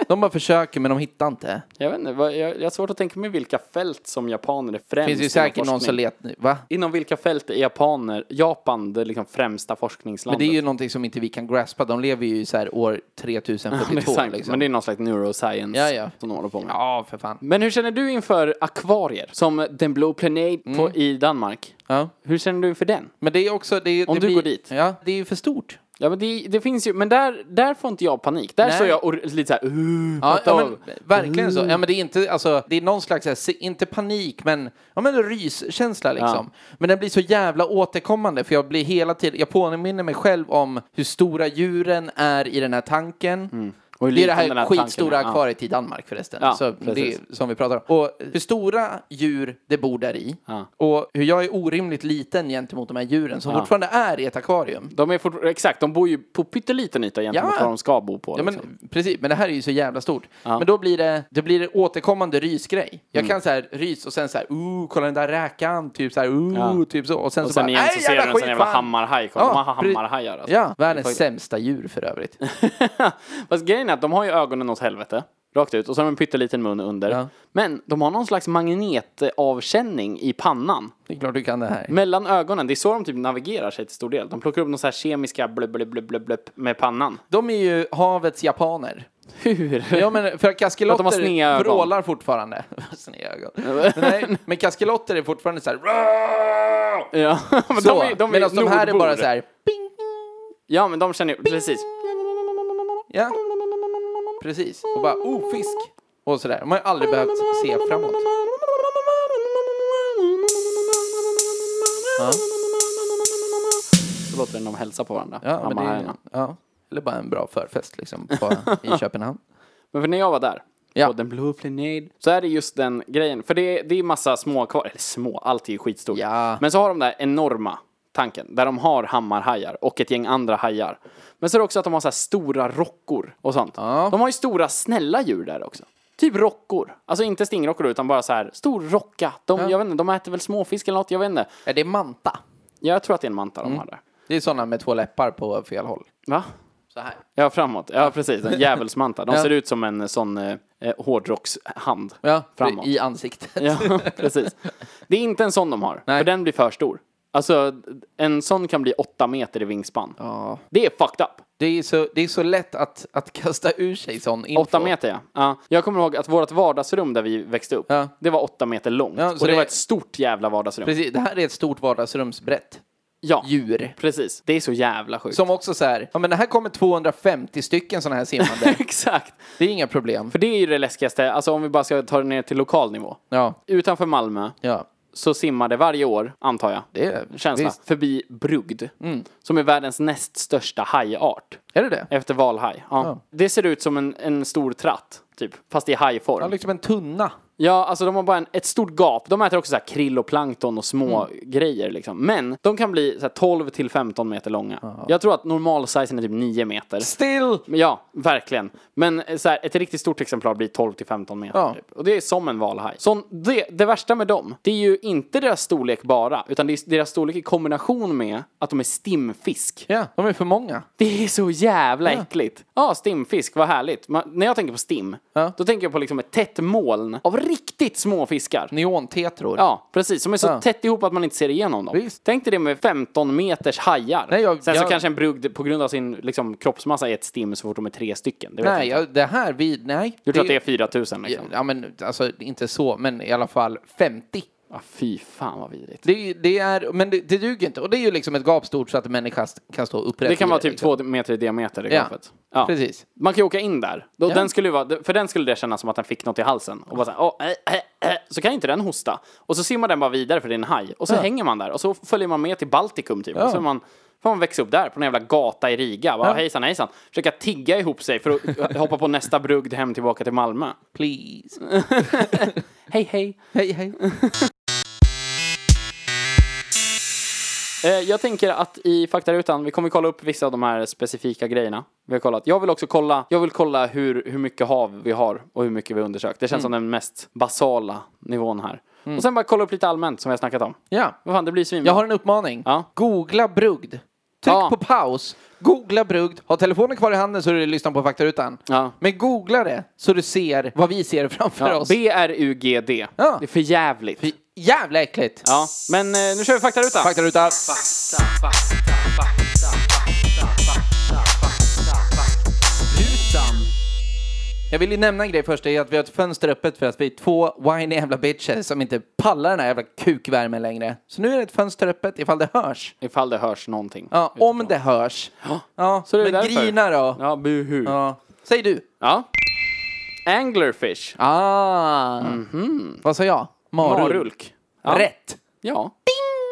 De bara försöker men de hittar inte. Jag vet inte, vad- jag, jag har svårt att tänka mig vilka fält som japaner är främst Det finns ju inom säkert någon forskning. som letar nu. Va? Inom vilka fält är japaner, Japan det liksom främsta Men forskningslandet? det är ju någonting som inte vi kan graspa. De lever ju så här år 3042. sant, liksom. men det är någon slags neuroscience Ja, ja. som de håller på med. Ja, för fan. Men hur känner du inför akvarier? Som Den Blå Planet på, i Danmark. Mm. Ja. Hur känner du inför den? Men det är också... Det, är- Om det du blir, går dit. Ja, det är ju för stort. Ja men det, det finns ju, men där, där får inte jag panik. Där Nej. står jag och lite såhär uh, Ja, fatta ja av. men, verkligen så. Mm. Ja, men det är inte, alltså, det är någon slags, så här, se- inte panik, men, ja, men ryskänsla liksom. Men den blir så jävla återkommande för jag blir hela tiden, jag påminner mig själv om hur stora djuren är i den här tanken. Mm. Och hur Det är det liten den här skitstora tanken är. akvariet i Danmark förresten. Ja, så det, precis. som vi pratar om. Och hur stora djur det bor där i. Ja. Och hur jag är orimligt liten gentemot de här djuren som fortfarande är i ett akvarium. Ja. De är fort, exakt, de bor ju på pytteliten yta gentemot Ja. vad de ska bo på. Ja, liksom. men, precis, men det här är ju så jävla stort. Ja. Mm. Men då blir det, det blir det återkommande rysgrej. Jag kan så här rys och sen så här, ooh, kolla den där räkan, typ så här, ooh, Ja. typ så. Och sen Och så sen bara, igen så "Nej, ser du en sån skit, jävla fan." hammarhaj. Kolla, de har pre- hammarhajar alltså. Ja, världens sämsta djur för övrigt. Fast grejen är att de har ju ögonen åt helvete. Rakt ut. Och så har de en pytteliten mun under. Ja. Men de har någon slags magnetavkänning i pannan. Det är klart du kan det här. Mellan ögonen. Det är så de typ navigerar sig till stor del. De plockar upp någon så här kemiska blubb, blubb, blubb, blubb, blubb med pannan. De är ju havets japaner. Hur? Ja men för att Att de har sneda kaskelotter ögon. vrålar fortfarande. sneda ögon. Men Nej, men kaskelotter är fortfarande så här. "Rå!" Ja, men Så, de, är, de, är medan de här är nordbor. bara så här. Ping. Ja, men de känner ju, precis. Ja. Precis. Och bara, oh, fisk. Och sådär. De har ju aldrig behövt se framåt. Ja, Så låter det när de hälsar på varandra. ja, men det är, Hammarhajarna. ja. Eller bara en bra förfest liksom på, i Köpenhamn. Men för när jag var där, Ja. på den blå planet, så är det just den grejen. För det är, det är massa små kvar, eller små, allt är ju skitstort. Ja. Men så har de där enorma tanken, där de har hammarhajar och ett gäng andra hajar. Men så är det också att de har så här stora rockor och sånt. Ja. De har ju stora snälla djur där också. Typ rockor. Alltså inte stingrockor utan bara så här stor rocka. De, jag vet inte, de äter väl småfisk eller något, jag vet inte. Är det manta? Jag tror att det är en manta Mm. de har där. Det är sådana med två läppar på fel håll. Va? Så här. Ja, framåt. Ja, precis. En djävulsmanta. De Ja. ser ut som en sån eh, eh, hårdrockshand. Ja, framåt. i ansiktet. Ja, precis. Det är inte en sån de har, Nej. för den blir för stor. Alltså, en sån kan bli åtta meter i vingspann. Ja. Det är fucked up. Det är så, det är så lätt att, att kasta ur sig sån info. Åtta meter, ja. ja. Jag kommer ihåg att vårt vardagsrum där vi växte upp, Ja. det var åtta meter långt. Ja, så och det, det- var ett stort jävla vardagsrum. Precis, det här är ett stort vardagsrumsbrett. Ja, Djur. precis. Det är så jävla sjukt. Som också så här, ja men det här kommer 250 stycken sådana här simmande. Exakt. Det är inga problem. För det är ju det läskigaste, alltså om vi bara ska ta det ner till lokal nivå. Ja, Utanför Malmö ja. så simmar det varje år, antar jag, Det är känsla, visst. Mm. förbi Brugd. Som är världens näst största hajart. Är det det? Efter valhaj. Ja. Ja. Det ser ut som en, en stor tratt, typ. Fast i Ja, hajform. Ja, liksom en tunna. alltså de har bara en, ett stort gap. De äter också så här krill och plankton och små Mm. grejer liksom. Men de kan bli så här 12 till 15 meter långa. Jag tror att normalsizen är typ 9 meter. Still! Men Ja, verkligen. Men eh, så här, ett riktigt stort exemplar blir 12 till 15 meter. Ja. Typ. Och det är som en valhaj. Så det, det värsta med dem, det är ju inte deras storlek bara, utan det är deras storlek i kombination med att de är stimfisk. Ja, de är för många. Det är så jävla äckligt. Ja, stimfisk, vad härligt. Man, när jag tänker på stim, Ja. då tänker jag på liksom ett tätt moln av riktigt små fiskar. Neontetror. Ja, precis. Som är så Mm. Ja. tätt ihop att man inte ser igenom dem. Visst. Tänk dig det med 15 meters hajar. Nej, jag- Sen så jag- kanske en brugd på grund av sin liksom, kroppsmassa är ett stim så fort de är tre stycken. Det vet Nej, jag... inte. ja, det här vi... Nej. Du tror att det är 4000 liksom? Ja, men alltså inte så, men i alla fall 50. Ah, fy fan vad vidrigt. Det, är- det är, men det, det duger inte. Och det är ju liksom ett gap stort så att en människa kan stå upprätt. Det kan i vara typ liksom. två meter i diameter det Ja. gapet. Precis. Man kan ju åka in där. Då, Ja. den skulle ju vara, för den skulle det kännas som att den fick något i halsen. Och bara så, här, "Åh, eh, eh, eh." så kan inte den hosta. Och så simmar den bara vidare för det är en haj. Och så hänger man där. Och så följer man med till Baltikum typ. Och så är man, får man växa upp där på en jävla gata i Riga. Bara, Hejsan hejsan. Försöka tigga ihop sig för att hoppa på nästa brugd hem tillbaka till Malmö. Please. Hej hej. Hej, hej. Eh, jag tänker att i faktarutan, vi kommer kolla upp vissa av de här specifika grejerna. Vi har kollat. Jag vill också kolla, jag vill kolla hur, hur mycket hav vi har och hur mycket vi har undersökt. Det känns Mm. som den mest basala nivån här. Och sen bara kolla upp lite allmänt som vi har snackat om. Ja. Vad fan, det blir svinbra. Mm. Jag har en uppmaning. Ja. Googla brugd. Tryck Ja. på paus. Googla brugd. Ha telefonen kvar i handen så du lyssnar på faktarutan. Ja. Men googla det så du ser vad vi ser framför ja, oss. B-R-U-G-D. Ja. Det är för jävligt. Jävla äckligt. Ja, men eh, nu kör vi faktarutan. Faktaruta. Jag vill ju nämna en grej först, det är att vi har ett fönster öppet för att vi är två whiny jävla bitches som inte pallar den här jävla kukvärmen längre. Så nu är det ett fönster öppet ifall det hörs. Ifall det hörs någonting. Ja, om det hörs. Ja, Så det är men därför. grina då. Ja. Ja, buhu. Ja. Säg du. Anglerfish. Ah. Vad sa jag? Marul. Marulk. Ja. Rätt. Ja.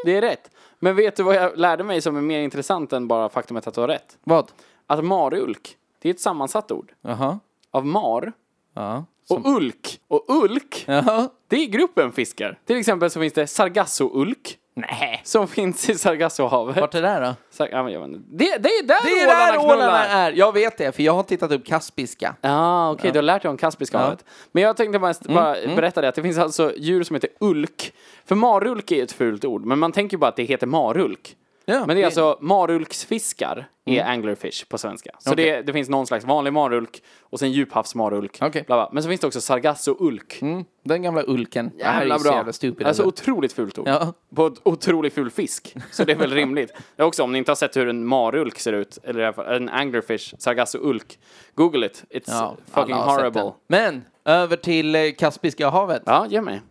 Det är rätt. Men vet du vad jag lärde mig som är mer intressant än bara faktumet att du har rätt? Vad? Att marulk, det är ett sammansatt ord. Jaha. Av mar Ja. och ulk. Och ulk, Jaha. det är gruppen fiskar. Till exempel så finns det sargassoulk. Nej. Som finns i Sargassohavet. Mm. Vart är det där då? Sar- ja, men jag vet inte. Det, det är där Det är där ålarna ålarna knullar. är. Jag vet det, för jag har tittat upp kaspiska. Ja, okej, du har lärt dig om Kaspiska havet. Men jag tänkte bara, bara Mm, berätta det, att det finns alltså djur som heter ulk. För marulk är ju ett fult ord, men man tänker ju bara att det heter marulk. Ja, Mm. men det är alltså marulksfiskar är anglerfish på svenska. Så Okej. det, det finns någon slags vanlig marulk och sen djuphavsmarulk. Okej. bla, bla. Men så finns det också sargassoulk. Mm, den gamla ulken. det här är Jävla ju så bra. jävla stupid. alltså Alltså, otroligt fult ord. Ja. På ett otroligt ful fisk. Så det är väl rimligt. Det är också om ni inte har sett hur en marulk ser ut, eller i alla fall en anglerfish, sargassoulk, google it. It's ja, fucking alla har sett horrible. den. Men, över till eh, Kaspiska havet. Ja, ge mig.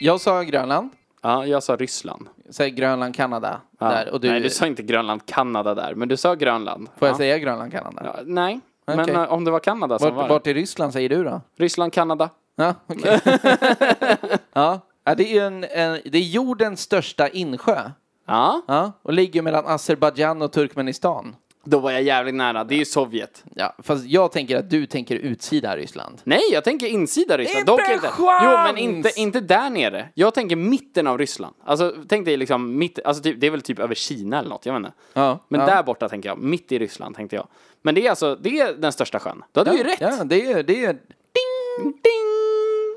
Jag sa Grönland. Ja, jag sa Ryssland. Säg Grönland, Kanada. Ja. Där. Och du, Nej, du sa inte Grönland, Kanada där, men du sa Grönland. Får jag ja. säga Grönland, Kanada? Ja, nej, men Okej. eh, om det var Kanada som var Vart, vart i Ryssland säger du då? det. Ryssland, Kanada. Ja, okej. ja. ja, det är ju en, en, det är jordens största insjö. Ja, Ja, och ligger mellan Azerbajdzjan och Turkmenistan. då var jag jävligt nära. Det är ju Sovjet. Ja, fast jag tänker att du tänker utsida Ryssland. Nej, jag tänker insida Ryssland. Inte en inte. chans! Jo, men inte, inte där nere. Jag tänker mitten av Ryssland. Alltså, tänk dig liksom mitt, alltså typ, det är väl typ över Kina eller något, jag vet inte. Ja, Men ja. där borta tänker jag, mitt i Ryssland tänkte jag. Men det är alltså, det är den största sjön. Då hade du ju rätt. Ja, det är, det är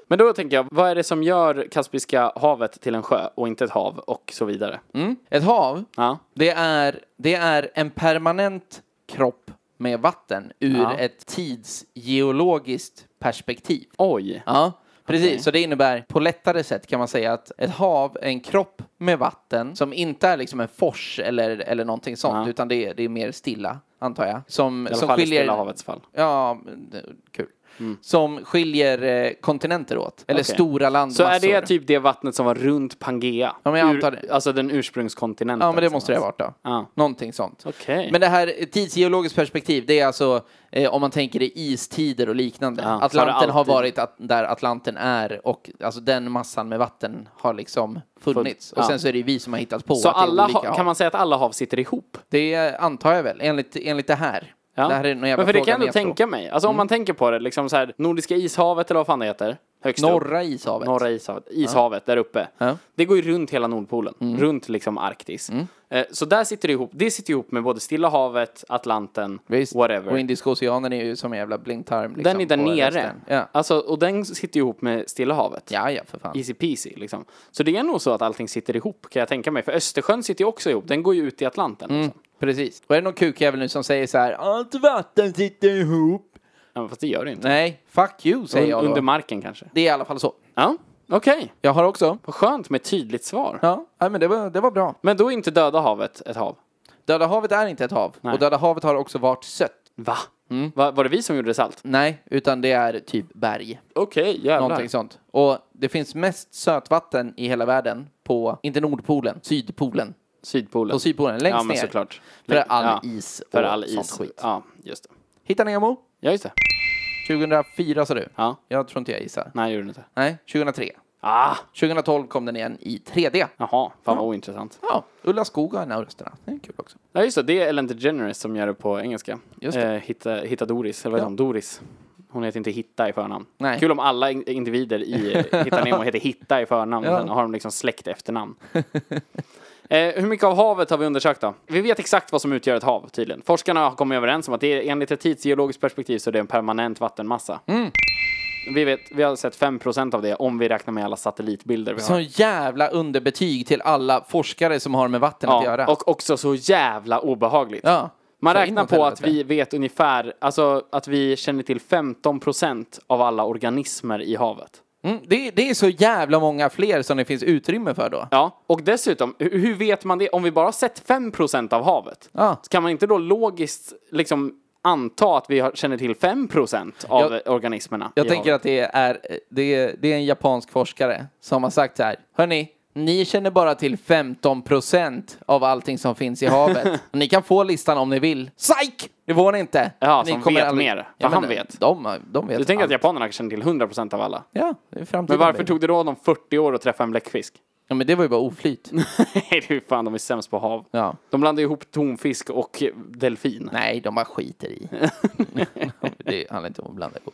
Men då tänker jag, vad är det som gör Kaspiska havet till en sjö och inte ett hav och så vidare? mm, ett hav. Ja. Det är, det är en permanent kropp med vatten ur Ja. ett tidsgeologiskt perspektiv. Oj. Ja, precis. Så det innebär på lättare sätt kan man säga att ett hav är en kropp med vatten som inte är liksom en fors eller, eller någonting sånt, Ja. utan det är, det är mer stilla, antar jag. Som, I alla som fall i skiljer... Stilla havets fall. Ja, men det- kul. Som skiljer eh, kontinenter åt, eller Okej. stora Så landmassor. är det typ det vattnet som var runt Pangea? Ja, men jag antar det. Alltså den ursprungskontinenten. Ja, men det liksom. måste det ha varit då. Ja. Någonting sånt. Okej. Men det här tidsgeologiskt perspektiv, det är alltså eh, om man tänker i istider och liknande. Ja, så har det Atlanten har alltid- varit att, där Atlanten är och alltså den massan med vatten har liksom funnits. Och ja. sen så är det vi som har hittat på Så att det är alla olika ha, kan man säga att alla hav sitter ihop? Det antar jag väl, enligt, enligt det här. Ja. Det här är någon jävla men för fråga det Mm. kan jag ändå neto. tänka mig. Alltså om man tänker på det, liksom så här Nordiska ishavet eller vad fan det heter. Högst upp. Norra ishavet. Norra ishavet, ishavet där uppe. Ja. Mm. Det går ju runt hela Nordpolen, runt liksom Arktis. Eh, Så där sitter det ihop, det sitter ihop med både Stilla havet, Atlanten, Visst. whatever. Och Indiska oceanen är ju som en jävla blindtarm. Liksom, den är där på nere. resten. Ja. Alltså, och den sitter ihop med Stilla havet. ja, ja, för fan. Easy peasy liksom. Så det är nog så att allting sitter ihop kan jag tänka mig. För Östersjön sitter ju också ihop, den går ju ut i Atlanten. Mm. Liksom. Precis. Och är det någon kukjävel nu som säger så här, allt vatten sitter ihop. Ja, fast det gör det ju inte. Nej, fuck you säger Un- jag då. Under marken kanske. Det är i alla fall så. Ja, okej. Jag har också. Vad skönt med ett tydligt svar. Ja, nej, men det var, det var bra. Men då är inte Döda havet ett hav. Döda havet är inte ett hav. Nej. Och Döda havet har också varit sött. Va? Mm. Va? Var det vi som gjorde det salt? Nej, utan det är typ berg. Okej, jävlar. Någonting sånt. Och det finns mest sötvatten i hela världen på, inte Nordpolen, Sydpolen. Sydpolen. På Sydpolen, längst ja, men ner. såklart. För all ja. is och För all sånt is. skit. Ja, just det. Hitta Nemo, Ja, just det. 2004 sa du. Ja. Jag tror inte jag gissar. Nej, det gjorde du inte. Nej, 2003. Ah, 2012 kom den igen i 3D. jaha. Fan vad ointressant. Ja, Ulla Skoog har en av rösterna. Det är kul också. Ja, just det. Det är Ellen DeGeneres som gör det på engelska. Just det. Eh, hitta, hitta Doris, eller vad heter hon? Doris. Hon heter inte Hitta i förnamn. Nej. Kul om alla in- individer i eh, Hitta Nemo heter Hitta i förnamn, Ja. och sen har de liksom släkt efternamn. Eh, hur mycket av havet har vi undersökt då? Vi vet exakt vad som utgör ett hav tydligen. Forskarna har kommit överens om att det är, enligt ett tidsgeologiskt perspektiv så är det en permanent vattenmassa. Mm. Vi, vet, vi har sett 5% av det om vi räknar med alla satellitbilder vi har. Sån jävla underbetyg till alla forskare som har med vatten att göra. Och också så jävla obehagligt. Ja. Man Så räknar inåt på att helvete. vi vet ungefär, alltså att vi känner till 15% av alla organismer i havet. Mm, det, det är så jävla många fler som det finns utrymme för då. Ja, och dessutom, hu- hur vet man det? Om vi bara har sett 5% av havet, Ja. så kan man inte då logiskt liksom anta att vi har, känner till 5% av Jag- organismerna Jag i tänker havet? att det är, det, är, det är en japansk forskare som har sagt så här. Hörni, ni känner bara till 15 procent av allting som finns i havet. Och ni kan få listan om ni vill. Psyk! Det får ni inte. Ja, ni som vet mer. Vad han vet. De, de vet. Du tänker att allt. japanerna känner till 100% av alla? Ja, det är framtiden. Men varför det. tog det då dem 40 år att träffa en bläckfisk? Ja, men det var ju bara oflyt. Nej, det är ju fan, de är sämst på hav. Ja. De blandar ihop tonfisk och delfin. Nej, de bara skiter i. det handlar inte om att blanda ihop.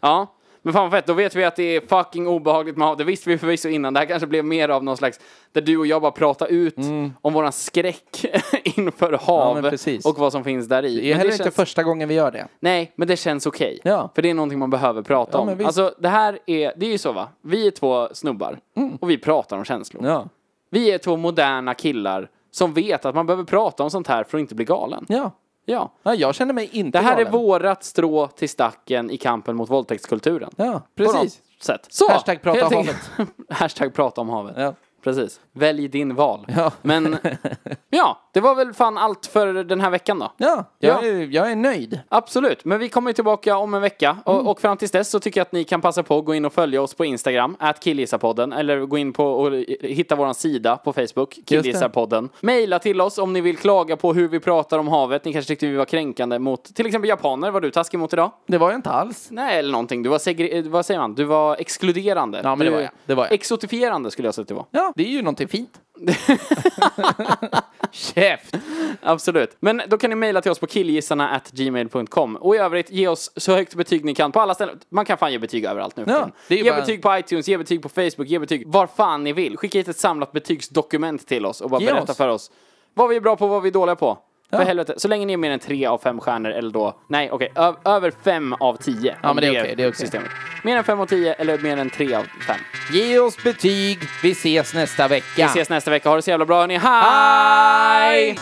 Ja, men fan vad fett, då vet vi att det är fucking obehagligt med hav. Det visste vi förvisso innan, det här kanske blev mer av någon slags, där du och jag bara pratar ut om våran skräck inför Mm. men hav precis. och vad som finns där i. Det är Men heller det inte känns, första gången vi gör det. Nej, men det känns okej. Ja. För det är någonting man behöver prata Ja, men om. visst. Alltså det här är, det är ju så va, vi är två snubbar och vi pratar om känslor. Mm. Ja. Vi är två moderna killar som vet att man behöver prata om sånt här för att inte bli galen. Ja. Ja. ja, jag känner mig inte Det här är galen. vårat strå till stacken i kampen mot våldtäktskulturen. Ja, På precis. något sätt. Så, Hashtag prata helt om enkelt. Hashtag prata om havet. Ja. Precis. Välj din val. Ja. Men ja, det var väl fan allt för den här veckan då. Ja, jag, Är, jag är nöjd. Absolut, men vi kommer ju tillbaka om en vecka Mm. och, och fram tills dess så tycker jag att ni kan passa på att gå in och följa oss på Instagram, at killgissarpodden, eller gå in på och hitta våran sida på Facebook, killgissarpodden. Maila till oss om ni vill klaga på hur vi pratar om havet, ni kanske tyckte vi var kränkande mot till exempel japaner, var du taskig mot idag? Det var jag inte alls. Nej, eller någonting. Du var, segre- eh, vad säger man? Du var exkluderande. Ja, men du, det var jag. Det var jag. Exotifierande skulle jag säga att du var. Ja, det är ju någonting fint. Käft! Absolut. Men då kan ni mejla till oss på killgissarna gmail.com. Och i övrigt, ge oss så högt betyg ni kan på alla ställen. Man kan fan ge betyg överallt nu för Ja, tiden. det är ju Ge bara- betyg på iTunes, ge betyg på Facebook, ge betyg var fan ni vill. Skicka hit ett samlat betygsdokument till oss och bara Ge berätta oss. för oss vad vi är bra på och vad vi är dåliga på. För helvete. Så länge ni är mer än tre av fem stjärnor eller då, nej okej, ö- över fem av tio. Ja, Om men det är okej, det är okej. systemet. Mer än fem av tio eller mer än tre av fem. Ge oss betyg. Vi ses nästa vecka. Vi ses nästa vecka, ha det så jävla bra hörni. Hej! Hej!